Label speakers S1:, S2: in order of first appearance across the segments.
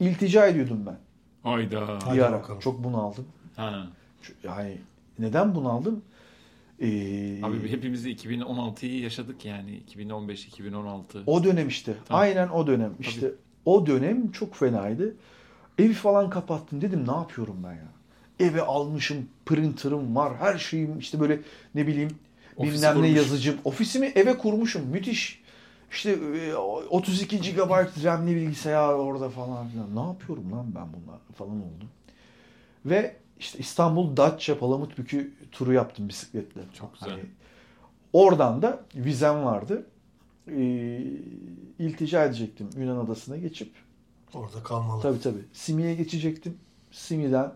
S1: iltica ediyordum ben
S2: Hayda.
S1: bir
S3: Hadi
S1: ara.
S3: bakalım.
S1: Çok bunaldım.
S2: Ha.
S1: Ç- Yani neden bunaldım? Ee,
S2: Abi hepimiz de 2016'yı yaşadık yani. 2015, 2016.
S1: O dönem işte.
S2: Tamam.
S1: Aynen o dönem. İşte o dönem çok fenaydı. Evi falan kapattım. Dedim ne yapıyorum ben ya? Eve almışım, printer'ım var, her şeyim işte böyle ne bileyim
S2: Ofisi
S1: bilmem ne
S2: kurmuş.
S1: yazıcım. Ofisimi eve kurmuşum. Müthiş. İşte e, 32 GB RAM'li bilgisayar orada falan filan. Ne yapıyorum lan ben bunlar falan oldum. Ve işte İstanbul Datça Palamutbükü turu yaptım bisikletle. Hani
S2: Çok güzel.
S1: oradan da vizem vardı. Ee, iltica edecektim Yunan adasına geçip.
S3: Orada kalmalı.
S1: Tabii tabii. Simye'ye geçecektim. Simye'den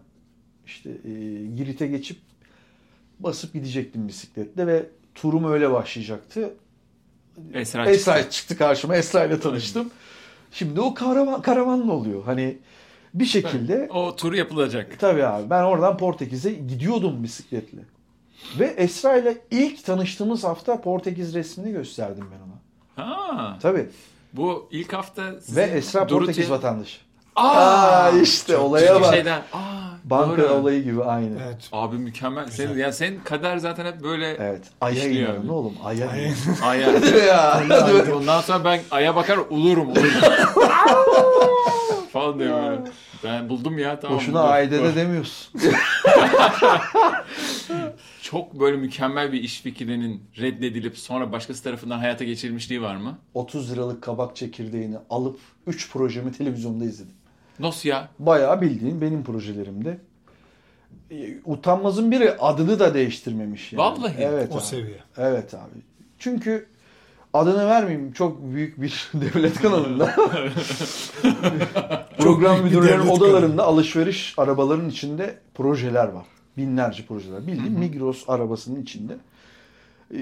S1: işte e, Girit'e geçip basıp gidecektim bisikletle ve turum öyle başlayacaktı.
S2: Esra
S1: Esra
S2: çıktı.
S1: çıktı karşıma. Esra ile tanıştım. Şimdi o karavan, karavanla oluyor. Hani bir şekilde
S2: O tur yapılacak.
S1: Tabii abi. Ben oradan Portekiz'e gidiyordum bisikletle. Ve Esra ile ilk tanıştığımız hafta Portekiz resmini gösterdim ben ona.
S2: Ha.
S1: Tabii.
S2: Bu ilk hafta sizin
S1: Ve Esra
S2: Dorothy-
S1: Portekiz vatandaşı. Aa
S2: Aa,
S1: işte
S3: çok
S1: olaya
S2: Bir
S1: bak.
S2: Şeyden. Aa,
S1: Banka
S2: doğru.
S1: olayı gibi aynı. Evet.
S3: Evet.
S2: Abi mükemmel. Senin,
S3: Güzel.
S2: yani senin kader zaten hep böyle
S1: Aya
S2: İşliyor
S1: inanın
S2: abi.
S1: oğlum. Aya
S3: Ay-
S1: inanın.
S2: aya.
S1: Değil mi ya? Değil mi?
S2: Ondan sonra ben aya bakar ulurum. ulurum. Falan diyor böyle. Ben buldum ya tamam.
S1: Boşuna
S2: buldum.
S1: ailede de demiyorsun.
S2: Çok böyle mükemmel bir iş fikrinin reddedilip sonra başkası tarafından hayata geçirilmişliği var mı?
S1: 30 liralık kabak çekirdeğini alıp 3 projemi televizyonda izledim.
S2: Nasıl ya?
S1: Bayağı bildiğin benim projelerimde. Ee, Utanmaz'ın biri adını da değiştirmemiş yani.
S2: Vallahi.
S1: Evet
S3: O
S1: abi.
S3: seviye.
S1: Evet abi. Çünkü adını vermeyeyim çok büyük bir devlet kanalında. Program
S3: büyük bir
S1: müdürlerinin
S3: devlet
S1: odalarında alışveriş arabaların içinde projeler var. Binlerce projeler. Bildiğin Migros arabasının içinde e,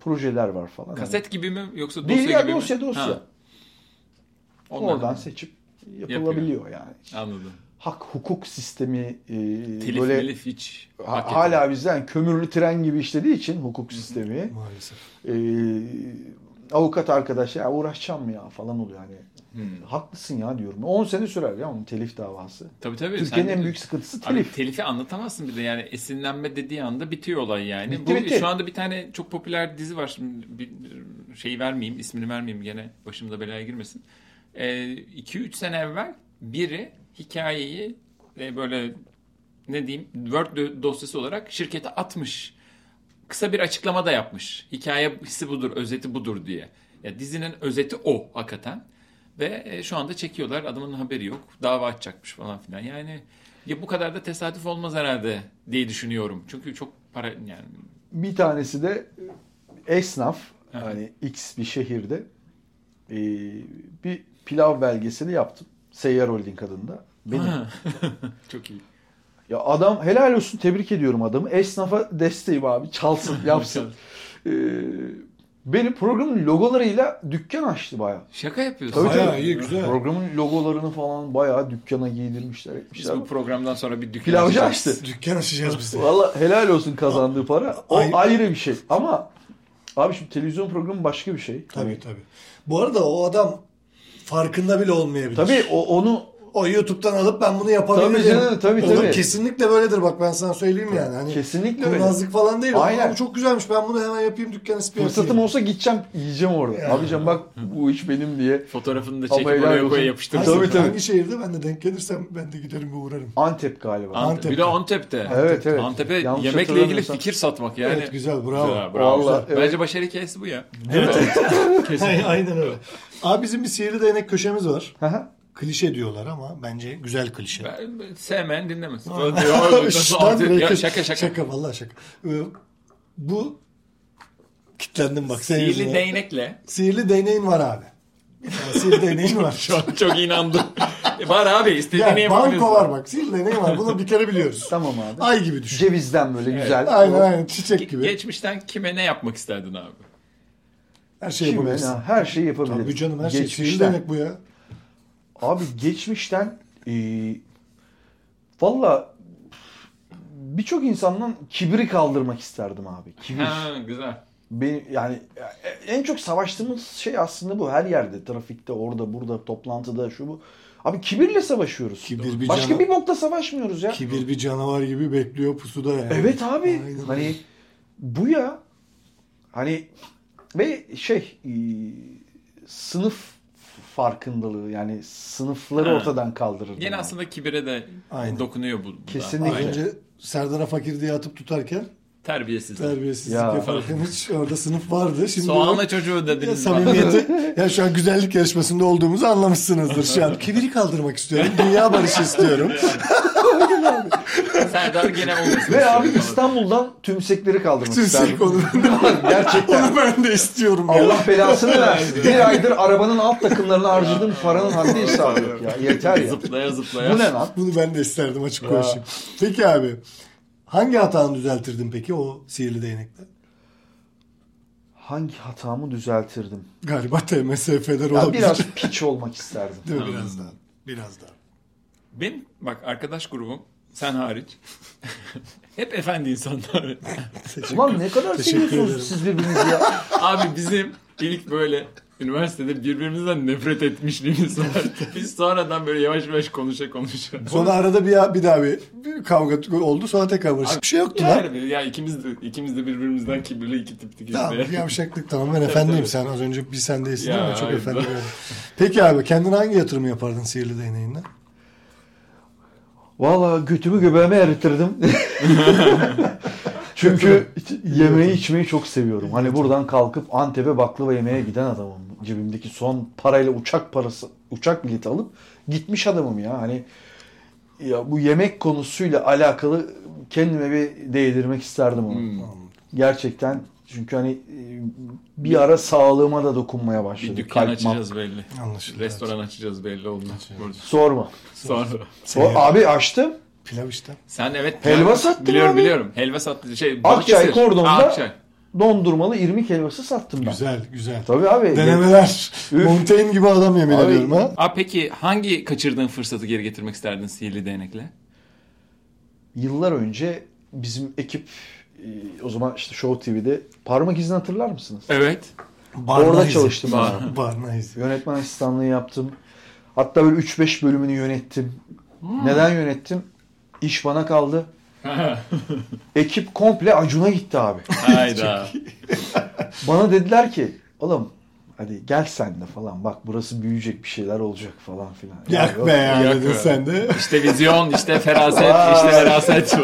S1: projeler var falan.
S2: Kaset gibi mi yoksa dosya
S1: Değil ya,
S2: gibi
S1: dosya,
S2: mi?
S1: dosya.
S2: Ha,
S1: Hani
S2: ondan.
S1: oradan seçip yapılabiliyor yani.
S2: Anladım.
S1: Hak hukuk sistemi e,
S2: Telif
S1: böyle
S2: melif hiç.
S1: ha-
S2: hak
S1: hala bizden kömürlü tren gibi işlediği için hukuk sistemi.
S3: Maalesef.
S1: e, avukat arkadaş ya uğraşacağım mı ya falan oluyor hani.
S2: Hmm.
S1: Haklısın ya diyorum. 10 sene sürer ya onun telif davası.
S2: Tabii tabii.
S1: Türkiye'nin
S2: sen-
S1: en büyük sıkıntısı
S2: Abi
S1: telif.
S2: telifi anlatamazsın bir de yani esinlenme dediği anda bitiyor olay yani.
S1: Bitti,
S2: Bu
S1: bitti.
S2: şu anda bir tane çok popüler dizi var. Şimdi bir şey vermeyeyim, ismini vermeyeyim gene başımda belaya girmesin. 2-3 sene evvel biri hikayeyi e, böyle ne diyeyim Word do- dosyası olarak şirkete atmış. Kısa bir açıklama da yapmış. Hikayesi budur, özeti budur diye. Ya dizinin özeti o hakikaten. Ve e, şu anda çekiyorlar. Adamın haberi yok. Dava açacakmış falan filan. Yani ya bu kadar da tesadüf olmaz herhalde diye düşünüyorum. Çünkü çok para yani
S1: Bir tanesi de e, esnaf
S2: Aha.
S1: hani X bir şehirde e, bir pilav belgeseli yaptım. Seyyar Holding adında. Benim.
S2: çok iyi.
S1: Ya adam helal olsun tebrik ediyorum adamı. Esnafa desteğim abi. Çalsın yapsın. E, benim programın logolarıyla dükkan açtı bayağı.
S2: Şaka yapıyorsun.
S1: Tabii,
S3: Bayağı
S1: tabii.
S3: iyi güzel.
S1: Programın logolarını falan bayağı dükkana giydirmişler
S2: Biz
S1: etmişler.
S2: bu programdan sonra bir dükkan
S1: Pilavcı
S2: açacağız.
S1: açtı.
S3: Dükkan açacağız biz de.
S1: Valla helal olsun kazandığı para. O
S3: Ay-
S1: ayrı bir şey. Ama abi şimdi televizyon programı başka bir şey.
S3: Tabii tabii. Bu arada o adam farkında bile olmayabilir.
S1: Tabii o, onu
S3: O YouTube'dan alıp ben bunu yapabilirim.
S1: Tabii canım, tabii,
S3: Oğlum
S1: tabii.
S3: kesinlikle böyledir bak ben sana söyleyeyim yani. Hani
S1: Kesinlikle öyle.
S3: Kurnazlık falan değil.
S1: Aynen.
S3: Aynen. çok güzelmiş ben bunu hemen yapayım dükkan ismi
S1: fırsatım
S3: yapayım.
S1: olsa gideceğim yiyeceğim orada.
S3: Ya.
S1: Abicim bak bu iş benim diye.
S2: Fotoğrafını da çekip
S1: Ama helal
S2: oraya
S1: olsun.
S2: koya
S3: Hangi-
S2: yapıştırırız.
S1: Tabii, tabii.
S3: Hangi şehirde ben de denk gelirsem ben de giderim ve uğrarım.
S1: Antep galiba.
S2: Antep. Bir de Antep'te.
S1: Evet evet.
S2: Antep'e
S1: Yanlış
S2: yemekle ilgili
S1: hatırlamıyorsam.
S2: fikir satmak yani.
S3: Evet güzel bravo.
S2: Güzel, bravo.
S1: Vallahi,
S2: Güzel.
S1: evet.
S2: Bence başarı hikayesi bu ya.
S3: Aynen öyle. Abi bizim bir sihirli değnek köşemiz var.
S1: Hı hı.
S3: Klişe diyorlar ama bence güzel klişe.
S2: Ben, ben sevmeyen dinlemesin.
S3: Şşş,
S2: Nasıl
S3: lan
S2: Antep-
S3: bırakın.
S2: ya, şaka şaka.
S3: Şaka vallahi şaka. Ee, Bu kitlendim bak senin
S2: Sihirli
S3: yüzünden.
S2: değnekle.
S3: Sihirli değneğin var abi. Bir tane sihirli değneğin var. Şu an.
S2: Çok inandım. E, var abi istediğini
S3: Yani
S2: yapabiliyorsun.
S3: banko var bak. Sihirli değneğin var. Bunu bir kere biliyoruz.
S1: Tamam abi.
S3: Ay gibi düşün.
S1: Cevizden böyle güzel.
S3: şey. Aynen
S1: O-
S3: aynen çiçek gibi.
S2: Geçmişten kime ne yapmak isterdin abi?
S3: Her şeyi
S1: Kim ben
S3: şey yapabilirsin.
S1: ha, her şeyi yapabilirim.
S3: Tabii canım her şey. Sihirli
S1: Geçmişten.
S3: değnek bu ya.
S1: Abi geçmişten eee valla birçok insandan kibri kaldırmak isterdim abi. Kibir.
S2: Ha güzel.
S1: Benim, yani en çok savaştığımız şey aslında bu. Her yerde, trafikte, orada, burada, toplantıda, şu bu. Abi kibirle savaşıyoruz.
S3: Kibir bir
S1: Başka
S3: cana-
S1: bir bokla savaşmıyoruz ya.
S3: Kibir bir canavar gibi bekliyor pusuda yani.
S1: Evet abi.
S3: Aynen.
S1: Hani bu ya. Hani ve şey e, sınıf farkındalığı yani sınıfları
S2: Ha.
S1: ortadan kaldırır.
S2: Gene
S1: bunu.
S2: aslında kibire de
S3: Aynen.
S2: dokunuyor bu. bu da.
S1: Kesinlikle.
S2: Aynen.
S3: Önce Serdar'a fakir diye atıp tutarken
S2: Terbiyesiz.
S3: terbiyesizlik
S1: Ya.
S3: yaparken hiç orada sınıf vardı. Şimdi
S2: Soğanla çocuğu
S3: Ya
S2: dediniz. bana.
S3: samimiyeti, ya şu an güzellik yarışmasında olduğumuzu anlamışsınızdır şu an. Kibiri kaldırmak istiyorum, dünya barışı istiyorum.
S2: Serdar gene olmasın.
S1: Ve
S2: istiyor
S1: abi
S2: falan.
S1: İstanbul'dan tümsekleri kaldırmak
S3: Tümsek
S1: isterdim.
S3: onu ben de,
S1: Gerçekten.
S3: onu ben de istiyorum. ya.
S1: Allah belasını versin. Bir aydır arabanın alt takımlarını harcadığım paranın haddi hesabı yok ya. Yeter ya.
S2: Zıplaya zıplaya.
S1: Bu ne lan?
S3: Bunu ben de isterdim açık
S1: Ya.
S3: konuşayım. Peki abi, hangi hatanı düzeltirdin peki o sihirli değnekle?
S1: Hangi hatamı düzeltirdim?
S3: Galiba TMSF'ler
S1: Ya
S3: olabilir.
S1: biraz piç olmak isterdim.
S3: Değil mi? Biraz daha. Biraz daha.
S2: Benim bak arkadaş grubum sen hariç. Hep efendi insanlar.
S1: Ulan ne kadar
S3: Teşekkür ederim.
S1: seviyorsunuz siz birbirinizi ya.
S2: Abi bizim ilk böyle üniversitede birbirimizden nefret etmişliğimiz var. Biz sonradan böyle yavaş yavaş konuşa konuşa.
S3: Sonra arada bir, bir daha bir, bir kavga oldu sonra tekrar barıştık. Bir şey yoktu lan.
S2: Yani bir- ya ikimiz de ikimiz de birbirimizden kibirli iki tiptik işte.
S3: Tamam yavşaklık tamam ben efendiyim sen az önce bir sendeysin
S2: Ya,
S3: ama çok
S2: hayır,
S3: efendi
S2: ben-
S3: gördüm. Peki abi kendine hangi yatırımı yapardın sihirli değneğinden?
S1: Valla götümü göbeğime eritirdim. Çünkü yemeği içmeyi çok seviyorum. Hani buradan kalkıp Antep'e baklava yemeye giden adamım. Cebimdeki son parayla uçak parası, uçak bileti alıp gitmiş adamım ya. Hani ya bu yemek konusuyla alakalı kendime bir değdirmek isterdim onu.
S2: Hmm.
S1: Gerçekten çünkü hani e, bir ara sağlığıma da dokunmaya
S2: Bir
S1: başladı.
S2: dükkan
S1: Kalp map-
S2: açacağız belli.
S3: Anlaşıldı.
S2: Restoran açacağız belli oldu.
S1: Sorma.
S2: Sonra.
S1: O, abi açtım.
S3: Pilav işte.
S2: Sen evet.
S1: Helva
S2: biliyorum,
S1: sattın
S2: Biliyorum
S1: abi.
S2: biliyorum. Helva sattı. Şey,
S1: Akçay
S2: Balıkesir.
S1: kordonda-
S2: Aa, Akçay.
S1: Dondurmalı irmik helvası sattım ben.
S3: Güzel güzel.
S1: Tabii abi.
S3: Denemeler. Montaigne gibi adam yemin
S1: Abi-
S3: ediyorum ha.
S2: Aa, peki hangi kaçırdığın fırsatı geri getirmek isterdin sihirli değnekle?
S1: yıllar önce bizim ekip e, o zaman işte Show TV'de parmak izini hatırlar mısınız?
S2: Evet.
S3: Barna
S1: Orada
S3: izi.
S1: çalıştım
S2: Bar-
S1: ben.
S3: Barna izi.
S1: Yönetmen asistanlığı yaptım. Hatta böyle 3-5 bölümünü yönettim.
S3: Hmm.
S1: Neden yönettim? İş bana kaldı. Ekip komple Acun'a gitti abi.
S2: Hayda.
S1: Bana dediler ki oğlum hadi gel sen de falan bak burası büyüyecek bir şeyler olacak falan filan. Ya
S3: Yak
S1: yok.
S3: be ya
S2: Yak
S3: dedin
S2: be.
S3: sen de.
S2: işte vizyon, işte feraset,
S1: Vay.
S2: işte veraset.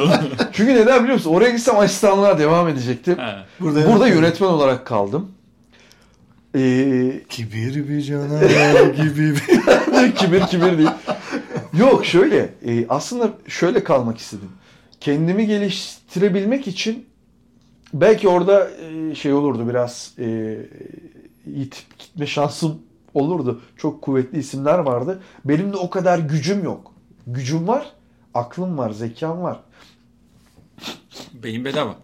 S1: Çünkü neden biliyor musun? Oraya gitsem asistanlığa devam edecektim.
S2: Ha.
S3: Burada,
S1: Burada yönetmen olarak kaldım. Ee,
S3: Kibir bir canavar gibi bir...
S1: kibir kibir değil. Yok şöyle e, aslında şöyle kalmak istedim. Kendimi geliştirebilmek için belki orada e, şey olurdu biraz e, itip gitme şansım olurdu. Çok kuvvetli isimler vardı. Benim de o kadar gücüm yok. Gücüm var, aklım var, zekam var.
S2: Beyin bedava.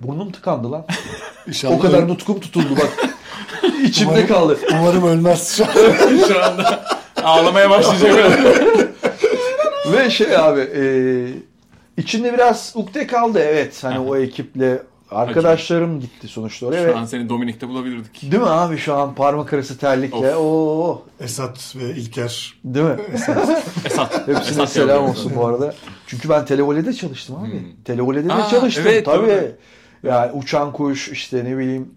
S1: Burnum tıkandı lan.
S3: İnşallah
S1: O kadar
S3: öl-
S1: nutkum tutuldu bak. İçimde
S3: Umarım-
S1: kaldı.
S3: Umarım ölmez şu an.
S2: Şu anda ağlamaya başlayacak.
S1: Ve şey abi e, içinde biraz ukde kaldı evet hani o ekiple arkadaşlarım gitti sonuçta oraya ve
S2: Şu an seni Dominik'te bulabilirdik.
S1: değil mi abi şu an parmak arası terlikle
S2: Of.
S1: o
S3: Esat ve İlker.
S1: değil mi?
S2: Esat.
S1: Hepsine
S2: Esat
S1: selam
S2: yavrum.
S1: olsun bu arada. Çünkü ben Televole'de çalıştım abi.
S2: Hmm.
S1: Televole'de de
S2: Aa,
S1: çalıştım
S2: evet,
S1: tabii.
S2: doğru.
S1: Yani uçan kuş işte ne bileyim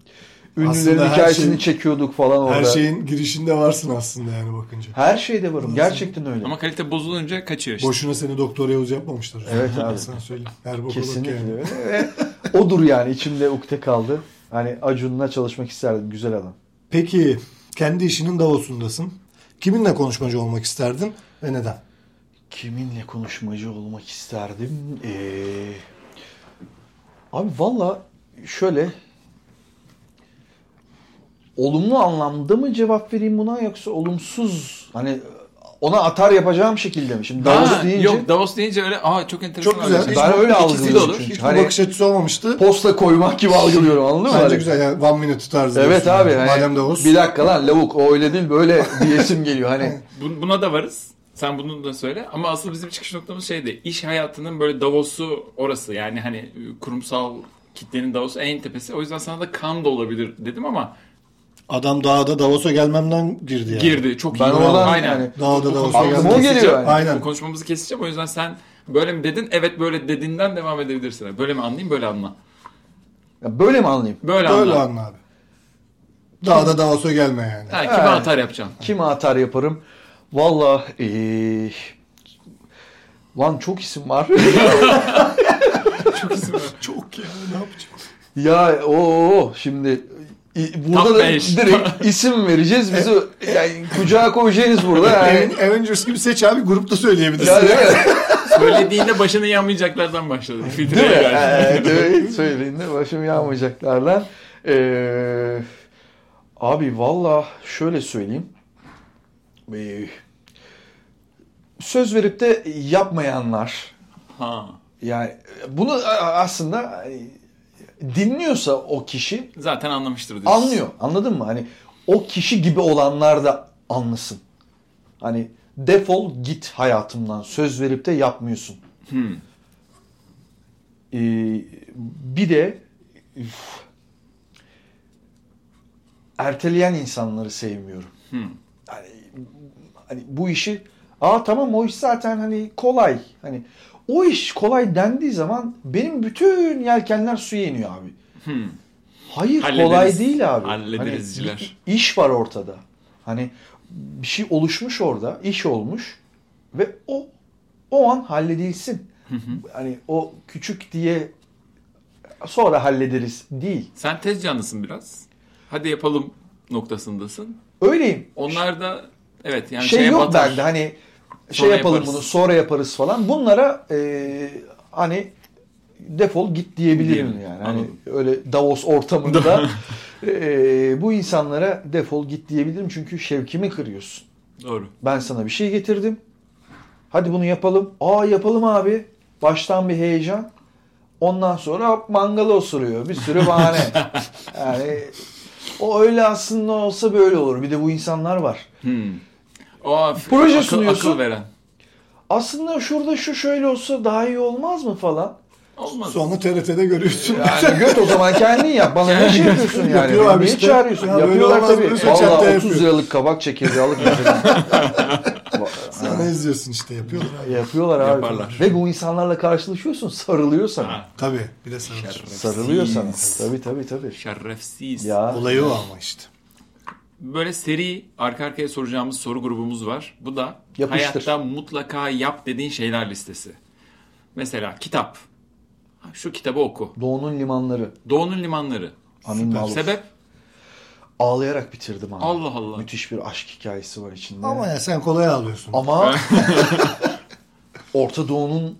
S3: Aslında
S1: ünlülerin
S3: her
S1: hikayesini
S3: şey-
S1: çekiyorduk falan orada.
S3: Her şey- şeyin girişinde varsın aslında yani bakınca.
S1: Her şeyde varım. Gerçekten öyle.
S2: Ama kalite bozulunca kaçıyor işte.
S3: Boşuna seni doktora Yavuz yapmamışlar.
S1: Evet abi.
S3: Ben sana söyleyeyim. Her bokoluk
S1: Kesinlikle
S3: yani.
S1: öyle. Ve odur yani içimde ukde kaldı. Hani Acun'la çalışmak isterdim. Güzel adam.
S3: Peki kendi işinin Davos'undasın. Kiminle konuşmacı olmak isterdin ve neden?
S1: Kiminle konuşmacı olmak isterdim? Ee, abi valla şöyle olumlu anlamda mı cevap vereyim buna yoksa olumsuz hani ona atar yapacağım şekilde mi? Şimdi Davos
S2: Ha,
S1: deyince
S2: Yok Davos deyince öyle aa çok enteresan. şey.
S3: Çok güzel.
S2: abi.
S3: Hiç
S1: ben
S3: bu-
S1: öyle
S3: ikisi de
S1: algılıyorum
S2: olur.
S1: çünkü.
S3: Hiç bu
S1: Hani
S3: bakış açısı olmamıştı.
S1: posta koymak gibi algılıyorum anladın mı?
S3: Bence
S1: Hani-
S3: güzel yani one minute tarzı.
S1: Evet
S3: diyorsun
S1: abi.
S3: yani.
S1: hani
S3: Madem Davos.
S1: Bir dakika lan lavuk o öyle değil böyle diyesim geliyor hani.
S2: Bu- Buna da varız. Sen bunu da söyle. Ama asıl bizim çıkış noktamız şeydi. İş hayatının böyle Davos'u orası. Yani hani e, kurumsal kitlenin Davos'u en tepesi. O yüzden sana da kan da olabilir dedim ama
S3: Adam dağda Davos'a gelmemden girdi yani.
S2: Girdi. Çok
S1: Ben
S2: iyi.
S1: oradan
S2: Aynen.
S1: yani
S3: Dağda Davos'a
S1: Aklıma
S3: gelmemden.
S1: o geliyor yani.
S3: Aynen.
S2: Bu konuşmamızı keseceğim. O yüzden sen böyle mi dedin? Evet böyle dediğinden devam edebilirsin. Böyle mi anlayayım? Böyle anla.
S1: Ya böyle mi anlayayım?
S2: Böyle,
S3: Böyle
S2: anla.
S3: anla abi. Dağda Davos'a gelme yani.
S2: Ha, kime
S1: Evet.
S2: atar yapacaksın?
S1: Kime atar yaparım? Valla eee, lan çok isim var.
S2: Çok isim var.
S3: Çok ya ne yapacağım?
S1: ya o şimdi i- burada
S2: Top
S1: da
S2: beş.
S1: direkt isim vereceğiz bizi yani kucağa koyacaksınız burada yani.
S3: Avengers gibi seç abi grupta söyleyebilirsin.
S1: Ya, değil mi?
S2: Söylediğinde başını yanmayacaklardan başladı. Filtreye
S1: Değil mi?
S2: geldi.
S1: Ee, evet, söylediğinde başım yanmayacaklardan. Ee, abi valla şöyle söyleyeyim. Ee, söz verip de yapmayanlar.
S2: ha.
S1: Yani bunu aslında hani dinliyorsa o kişi
S2: Zaten anlamıştır diyorsun.
S1: anlıyor. Anladın mı? Hani o kişi gibi olanlar da anlasın. Hani defol git hayatımdan. Söz verip de yapmıyorsun.
S2: Hmm.
S1: Ee, bir de üf, erteleyen insanları sevmiyorum.
S2: Hmm.
S1: Hani, hani bu işi aa tamam o iş zaten hani kolay. Hani o iş kolay dendiği zaman benim bütün yelkenler suya iniyor abi.
S2: Hmm.
S1: Hayır
S2: Hallederiz.
S1: kolay değil abi.
S2: Hallederizciler.
S1: Hani bir iş var ortada. Hani bir şey oluşmuş orada, iş olmuş ve o o an halledilsin. hani o küçük diye sonra hallederiz değil.
S2: Sen tez canlısın biraz. Hadi yapalım noktasındasın.
S1: Öyleyim.
S2: Onlar da evet yani
S1: şey
S2: şeye
S1: yok
S2: batar.
S1: bende hani şey
S2: Sonra
S1: yapalım
S2: yaparız.
S1: bunu sonra yaparız falan. Bunlara e, hani defol git diyebilirim
S2: Diyelim,
S1: yani. Hani
S2: anladım.
S1: öyle Davos ortamında e, bu insanlara defol git diyebilirim çünkü şevkimi kırıyorsun.
S2: Doğru.
S1: Ben sana bir şey getirdim. Hadi bunu yapalım. Aa yapalım abi. Baştan bir heyecan. Ondan sonra mangalı osuruyor. Bir sürü bahane. yani o öyle aslında olsa böyle olur. Bir de bu insanlar var.
S2: Hmm. O
S1: Proje
S2: akıl,
S1: sunuyorsun.
S2: akıl veren.
S1: Aslında şurada şu şöyle olsa daha iyi olmaz mı falan.
S2: Olmaz.
S3: Sonra TRT'de görüyorsun.
S1: Yani göt o zaman kendin yap. Bana ne şey yapıyorsun yani?
S3: Yapıyorlar
S1: Beni
S3: işte.
S1: çağırıyorsun?
S3: Ya böyle
S1: Yapıyorlar
S3: olmaz
S1: tabii.
S3: diyorsun, chatte
S1: Valla 30
S3: yapıyor.
S1: liralık kabak şey. çekirdeği alıp götürüyorum.
S3: Sana izliyorsun işte yapıyorlar abi.
S1: Yapıyorlar abi.
S2: Yaparlar.
S1: Ve bu insanlarla karşılaşıyorsun. Sarılıyor sana.
S2: Ha.
S3: Tabii bir de sana.
S1: Sarılıyor sana. Tabii tabii tabii.
S2: Şerefsiz.
S1: Ya.
S3: Olayı o ama işte.
S2: Böyle seri arka arkaya soracağımız soru grubumuz var. Bu da
S1: Yapıştır.
S2: hayatta mutlaka yap dediğin şeyler listesi. Mesela kitap. Ha, Şu kitabı oku.
S1: Doğu'nun limanları.
S2: Doğu'nun limanları.
S1: Amin Maluf.
S2: Sebep?
S1: Ağlayarak bitirdim abi.
S2: Allah Allah.
S1: Müthiş bir aşk hikayesi var içinde.
S3: Ama
S1: Ama,
S3: ya sen kolay alıyorsun.
S1: Orta Doğu'nun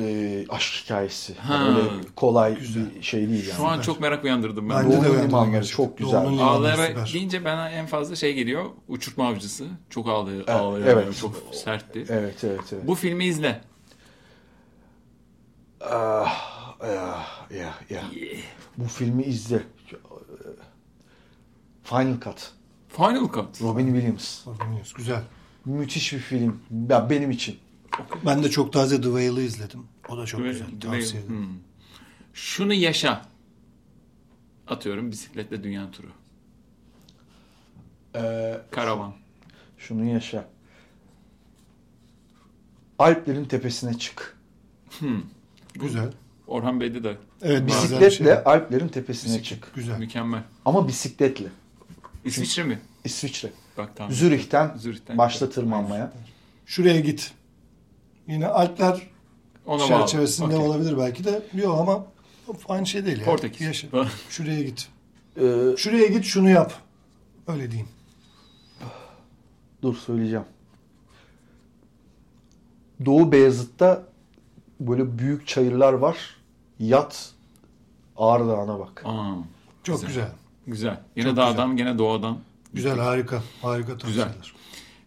S1: e, aşk hikayesi. Yani
S2: Ha.
S1: öyle kolay bir şey değil yani.
S2: Şu an çok merak uyandırdım ben.
S3: Bence de
S1: Doğunun
S3: ben de
S1: limanları
S3: gerçekten.
S1: çok güzel.
S3: Doğunun limanları
S2: Ağlayarak
S3: süper.
S2: deyince bana en fazla şey geliyor. Uçurtma avcısı. Çok ağlıyor.
S1: Evet,
S2: ağlıyor.
S1: evet.
S2: Çok sertti.
S1: Evet evet evet.
S2: Bu filmi izle.
S1: Ah, ah, ya, ya. Bu filmi izle. Final Cut.
S2: Final Cut.
S1: Robin Williams.
S3: Bilmiyoruz, Güzel.
S1: Müthiş bir film. Ya benim için.
S3: Ben de çok taze The Whale'ı izledim. O da çok
S2: Ve-
S3: güzel.
S2: ve-
S3: Tavsiye ederim.
S2: Hmm. Şunu yaşa. Atıyorum bisikletle dünya turu.
S1: Ee,
S2: Karavan.
S1: şunu yaşa. Alplerin tepesine çık.
S3: Güzel.
S2: Orhan Bey'de de
S3: Evet benzer bir
S1: Bisikletle
S3: şey.
S1: Alplerin tepesine çık.
S3: Güzel.
S2: mükemmel.
S1: Ama bisikletle.
S2: İsviçre mi?
S1: İsviçre.
S2: Bak tamam.
S1: Zürih'ten,
S2: Zürih'ten.
S1: başla tırmanmaya.
S3: Şuraya git. Yine Alpler
S2: Ona bağlı.
S3: çerçevesinde
S2: Okey.
S3: olabilir belki de. Yok ama aynı şey değil ya.
S2: Portekiz.
S3: Yaşa.
S2: Falan.
S3: Şuraya git.
S1: Ee,
S3: Şuraya git şunu yap. Öyle diyeyim.
S1: dur söyleyeceğim. Doğu Beyazıt'ta böyle büyük çayırlar var. Yat Ağrı Dağı'na bak.
S2: Aa,
S3: Çok
S2: Güzel.
S3: güzel.
S2: güzel. Yine
S3: Çok
S2: dağdan gene doğadan.
S3: Güzel, harika. Harika tavsiyeler.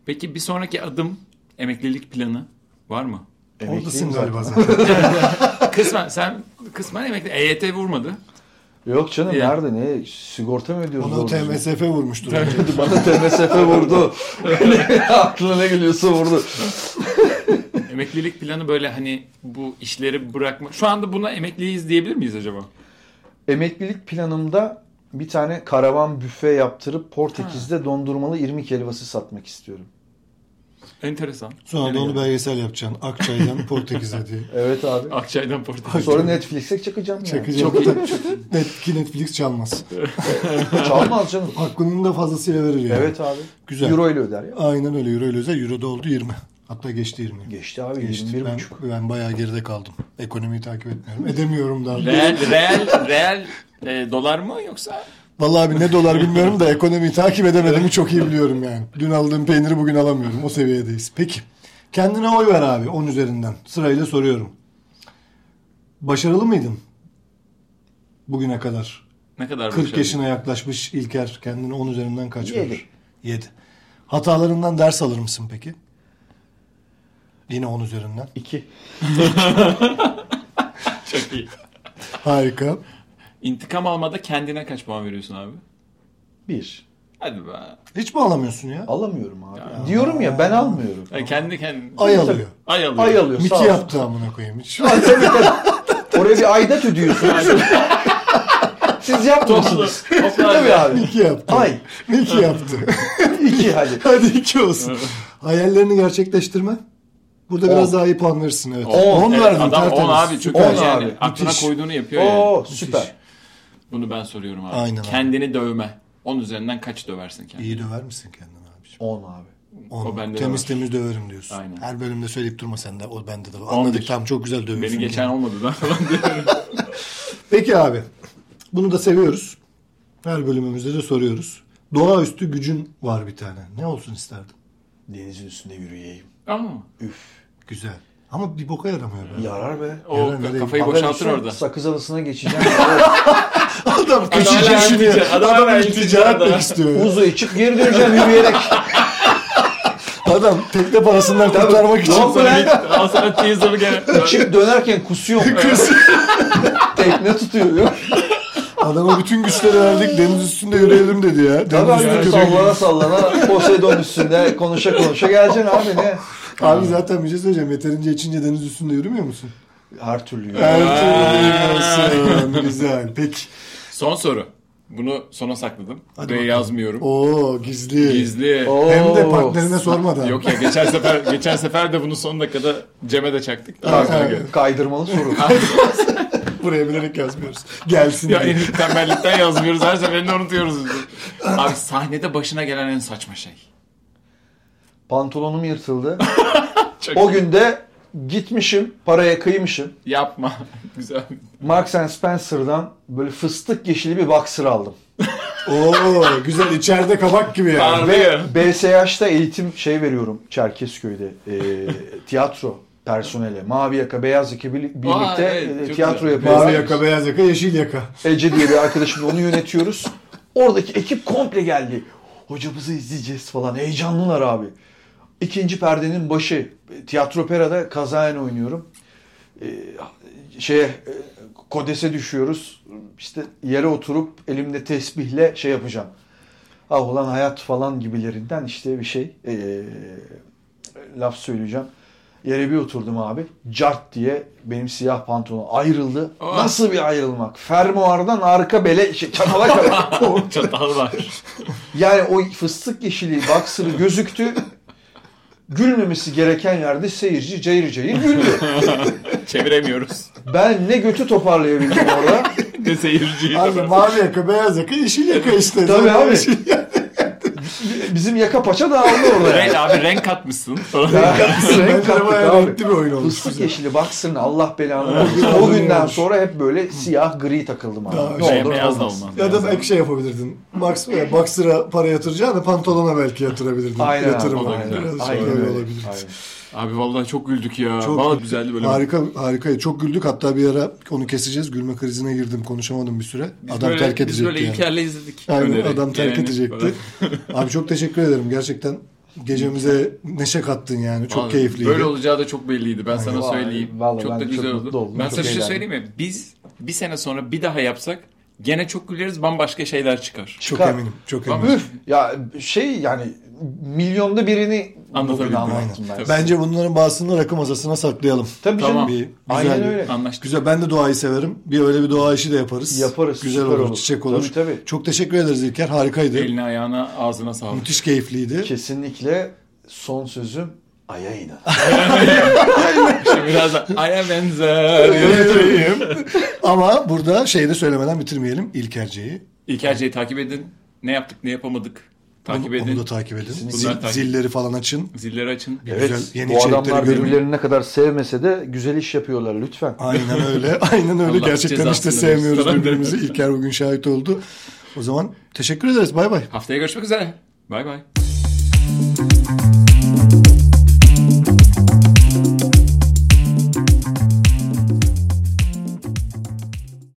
S2: Peki bir sonraki adım emeklilik planı var mı?
S1: Emekliyim
S3: Oradasın
S1: zaten.
S3: galiba zaten.
S2: kısmen sen kısmen emekli. EYT vurmadı.
S1: Yok canım
S2: Ya.
S1: nerede ne sigorta mı ödüyoruz?
S3: Onu
S1: doğru düzgün?
S3: TMSF vurmuştur.
S1: Bana TMSF vurdu. Aklına ne geliyorsa vurdu.
S2: Emeklilik planı böyle hani bu işleri bırakma. Şu anda buna emekliyiz diyebilir miyiz acaba?
S1: Emeklilik planımda bir tane karavan büfe yaptırıp Portekiz'de dondurmalı irmik helvası satmak istiyorum.
S2: Enteresan.
S3: Sonra da
S2: Nereye?
S3: onu belgesel yapacaksın. Akçay'dan Portekiz'e diye.
S1: Evet abi.
S2: Akçay'dan Portekiz.
S1: Sonra Netflix'e çakacağım yani.
S3: Çakacağım.
S2: Çok iyi.
S3: Net, ki Netflix çalmaz.
S1: Çalmaz canım.
S3: Hakkının da fazlasıyla verir yani.
S1: Evet abi.
S3: Güzel.
S1: Euro ile öder ya.
S3: Aynen öyle. Euro ile özel. Euro'da oldu 20. Hatta geçti 20.
S1: Geçti abi.
S3: Geçti.
S1: 21,5.
S3: Ben, ben bayağı geride kaldım. Ekonomiyi takip etmiyorum. Edemiyorum daha.
S2: Reel, reel, reel e, dolar mı yoksa?
S3: Vallahi abi ne dolar bilmiyorum da ekonomiyi takip edemediğimi çok iyi biliyorum yani. Dün aldığım peyniri bugün alamıyorum. O seviyedeyiz. Peki. Kendine oy ver abi 10 üzerinden. Sırayla soruyorum. Başarılı mıydın? Bugüne kadar.
S2: Ne kadar
S3: 40
S2: başarılı?
S3: yaşına yaklaşmış İlker kendini 10 üzerinden kaç
S1: Yedi.
S3: verir? 7. Hatalarından ders alır mısın peki? Yine 10 üzerinden.
S1: 2.
S2: Çok iyi.
S3: Harika.
S2: İntikam almada kendine kaç puan veriyorsun abi?
S1: 1.
S2: Hadi be. E,
S3: Hiç mi alamıyorsun ya?
S1: Alamıyorum abi. Diyorum ya ben almıyorum.
S2: Yani kendi kendine.
S3: Ay alıyor.
S2: Ay alıyor.
S1: Ay alıyor.
S3: Miti
S1: sağ olsun.
S3: yaptı amına koyayım. Hiç.
S1: Oraya bir aidat ödüyorsunuz. Siz
S2: Toplu.
S1: yapmıyorsunuz.
S2: Toplu
S1: Değil mi abi?
S3: Miki yaptı.
S1: Ay.
S3: Miki yaptı.
S1: 2 hadi.
S3: Hadi iki olsun. Hayallerini gerçekleştirme. Burada
S1: On.
S3: biraz daha iyi puan verirsin evet.
S1: On.
S3: On
S2: Evet,
S3: verdin
S2: adam 10
S3: tertemiz.
S2: abi çok
S1: On
S2: yani
S1: abi,
S2: aklına
S3: müthiş.
S2: koyduğunu yapıyor yani.
S1: Oo süper.
S2: Bunu ben soruyorum abi.
S3: Aynen abi.
S2: Kendini dövme. 10 üzerinden kaç döversin kendini?
S3: İyi döver misin kendini abiciğim?
S1: 10 abi.
S3: On.
S2: O bende de
S3: temiz
S2: var.
S3: temiz döverim diyorsun.
S2: Aynen.
S3: Her bölümde söyleyip durma sen de. O bende de var. Anladık
S2: bir.
S3: tam çok güzel dövüyorsun.
S2: Beni
S3: kendini.
S2: geçen olmadı da.
S3: Peki abi. Bunu da seviyoruz. Her bölümümüzde de soruyoruz. Doğaüstü gücün var bir tane. Ne olsun isterdin?
S1: Denizin üstünde yürüyeyim.
S2: Aa,
S1: Üf.
S3: Güzel. Ama bir boka yaramıyor. be.
S1: Yarar be.
S2: o
S3: Eren nereye
S2: kafayı
S1: Haber
S2: boşaltır
S1: olsun,
S2: orada.
S1: Sakız adasına geçeceğim.
S3: Adam
S2: hala
S3: kaçıncı işini
S2: iltica- adam hala
S3: Adam
S2: iltica
S3: iltica etmek
S2: da.
S3: istiyor.
S1: Uzu'ya çık geri döneceğim yürüyerek.
S3: Adam tekne parasından kurtarmak için.
S2: Al sana, bir- al sana teaser gene.
S1: Çık dönerken kusuyorum. Tekne tutuyor.
S3: Adama bütün güçleri verdik deniz üstünde yürüyelim dedi ya.
S1: Tabii
S3: Deniz
S1: abi
S3: üstü
S1: sallana sallana Poseidon üstünde konuşa konuşa geleceksin abi ne?
S3: Abi zaten bir şey söyleyeceğim. Yeterince içince deniz üstünde yürümüyor musun?
S1: Her türlü yürü.
S3: Her türlü yürüyorsun. Güzel. Peki.
S2: Son soru. Bunu sona sakladım.
S3: Hadi
S2: Buraya
S3: bakalım.
S2: yazmıyorum.
S3: Oo gizli.
S2: Gizli.
S1: Oo.
S3: Hem de partnerine sormadan.
S2: Yok ya geçen sefer geçen sefer de bunu son dakikada Cem'e de çaktık.
S3: Aa,
S2: Ağzına
S3: evet.
S2: geldi.
S1: Kaydırmalı soru.
S3: Buraya bilerek yazmıyoruz. Gelsin
S2: Ya
S3: diye.
S2: en tembellikten yazmıyoruz. Her seferinde unutuyoruz. biz. Abi sahnede başına gelen en saçma şey.
S1: Pantolonum yırtıldı.
S2: Çok
S1: O günde gitmişim, paraya kıymışım.
S2: Yapma. Güzel.
S1: Marks and Spencer'dan böyle fıstık yeşili bir boxer aldım.
S3: Oo güzel içeride kabak gibi yani.
S2: Harbi ya.
S1: BSH'ta eğitim şey veriyorum Çerkezköy'de e, tiyatro personele. Mavi yaka, beyaz yaka bir- birlikte
S2: evet,
S1: e,
S2: çok
S1: tiyatro
S2: güzel.
S1: yapıyoruz.
S3: Mavi yaka, beyaz yaka, yeşil yaka.
S1: Ece diye bir arkadaşımla onu yönetiyoruz. Oradaki ekip komple geldi. Hocamızı izleyeceğiz falan. Heyecanlılar abi. İkinci perdenin başı. Tiyatro operada kazayen oynuyorum. Ee, şeye e, kodese düşüyoruz. İşte yere oturup elimde tesbihle şey yapacağım. Ah ulan hayat falan gibilerinden işte bir şey ee, laf söyleyeceğim. Yere bir oturdum abi. Cart diye benim siyah pantolon ayrıldı.
S2: Aa.
S1: Nasıl bir ayrılmak? Fermuardan arka bele şey, çatala kadar.
S2: Çatal var.
S1: yani o fıstık yeşili baksırı gözüktü. Gülmemesi gereken yerde seyirci cayır cayır güldü.
S2: Çeviremiyoruz.
S1: Ben ne götü toparlayabildim orada.
S2: Ne seyirciyi.
S3: Abi mavi yaka, beyaz yaka, yeşil yaka işte.
S1: Tabii
S3: Zaten
S1: abi.
S3: yeşil yaka.
S1: Bizim yaka paça dağıldı orada. Yani.
S2: Renk, abi renk katmışsın. falan.
S1: Renk
S3: Bence de
S1: kattık
S3: bayağı
S1: abi.
S3: renkli bir oyun olmuş.
S1: Fıstık
S3: Güzel.
S1: yeşili baksın Allah belanı versin. O günden sonra hep böyle siyah gri takıldım abi.
S3: Daha
S1: Ne
S3: şey,
S1: olur ne
S2: beyaz da
S1: olmaz.
S2: olmaz.
S3: Ya da belki şey yapabilirdin. Max e, Boxer'a para yatıracağını pantolona belki yatırabilirdin.
S1: Aynen
S3: Yatırım
S1: abi,
S2: olarak
S1: aynen.
S2: biraz
S1: Aynen
S3: Biraz şöyle
S1: öyle.
S3: olabilir.
S1: Aynen.
S2: Abi vallahi çok güldük ya.
S3: Çok
S2: vallahi
S3: güldük.
S2: güzeldi böyle.
S3: Harika, harika. Çok güldük. Hatta bir ara onu keseceğiz. Gülme krizine girdim. Konuşamadım bir süre. adam
S2: böyle,
S3: terk edecekti
S2: Biz böyle
S3: yani.
S2: İlker'le izledik.
S3: Aynen,
S2: Öneri,
S3: adam terk
S2: geleni falan.
S3: edecekti. Abi çok teşekkür ederim. Gerçekten gecemize neşe kattın yani. Çok
S2: Abi,
S3: keyifliydi.
S2: Böyle olacağı da çok belliydi. Ben sana
S1: Vallahi-
S2: söyleyeyim.
S1: vallahi
S2: çok
S1: ben
S2: da
S1: de çok
S2: güzel
S1: mutlu
S2: oldu.
S1: oldum,
S2: Ben
S1: çok
S2: sana bir şey
S1: eğlendim.
S2: söyleyeyim mi? Biz bir sene sonra bir daha yapsak gene çok güleriz bambaşka şeyler çıkar.
S3: çok
S1: Çıkar.
S3: eminim. Çok
S2: Tamam.
S3: eminim.
S1: Ya şey yani milyonda birini
S2: Anlatabildim.
S3: Aynen.
S1: Anlattım ben.
S3: Bence bunların bazısını rakı masasına saklayalım.
S1: Tabii canım.
S2: Tamam.
S3: Bir güzel
S1: Aynen
S3: bir-
S1: öyle.
S2: Anlaştık.
S3: Güzel. Ben de doğayı severim. Bir öyle bir doğa işi de yaparız.
S1: Yaparız,
S3: Güzel
S1: süper
S3: olur,
S1: olur.
S3: Çiçek olur.
S1: Tabii, tabii.
S3: Çok teşekkür ederiz İlker. Harikaydı.
S2: Eline ayağına ağzına sağlık.
S3: Müthiş keyifliydi.
S1: Kesinlikle son sözüm Ay'a inan.
S3: Ah,
S2: İşte biraz da aya benzer.
S3: Ama burada şeyi de söylemeden bitirmeyelim. İlkerce'yi.
S2: İlkerce'yi takip edin. Ne yaptık ne yapamadık. Takip
S3: Onu-
S2: edin.
S3: Onu da takip edin.
S1: Kesinlikle.
S3: Zil-
S2: Bunları takip-
S3: zilleri falan açın.
S2: Zilleri açın.
S1: Evet
S3: Güzel, yeni
S1: bu
S3: içerikleri
S1: adamlar
S3: görün.
S1: birbirlerini ne kadar sevmese de güzel iş yapıyorlar lütfen.
S3: Aynen öyle. Aynen öyle.
S2: Allah
S3: Gerçekten işte
S2: cezasını
S3: sevmiyoruz
S2: versin.
S3: birbirimizi. İlker bugün şahit oldu. O zaman teşekkür ederiz. Bay bay.
S2: Haftaya görüşmek üzere. Bay bay.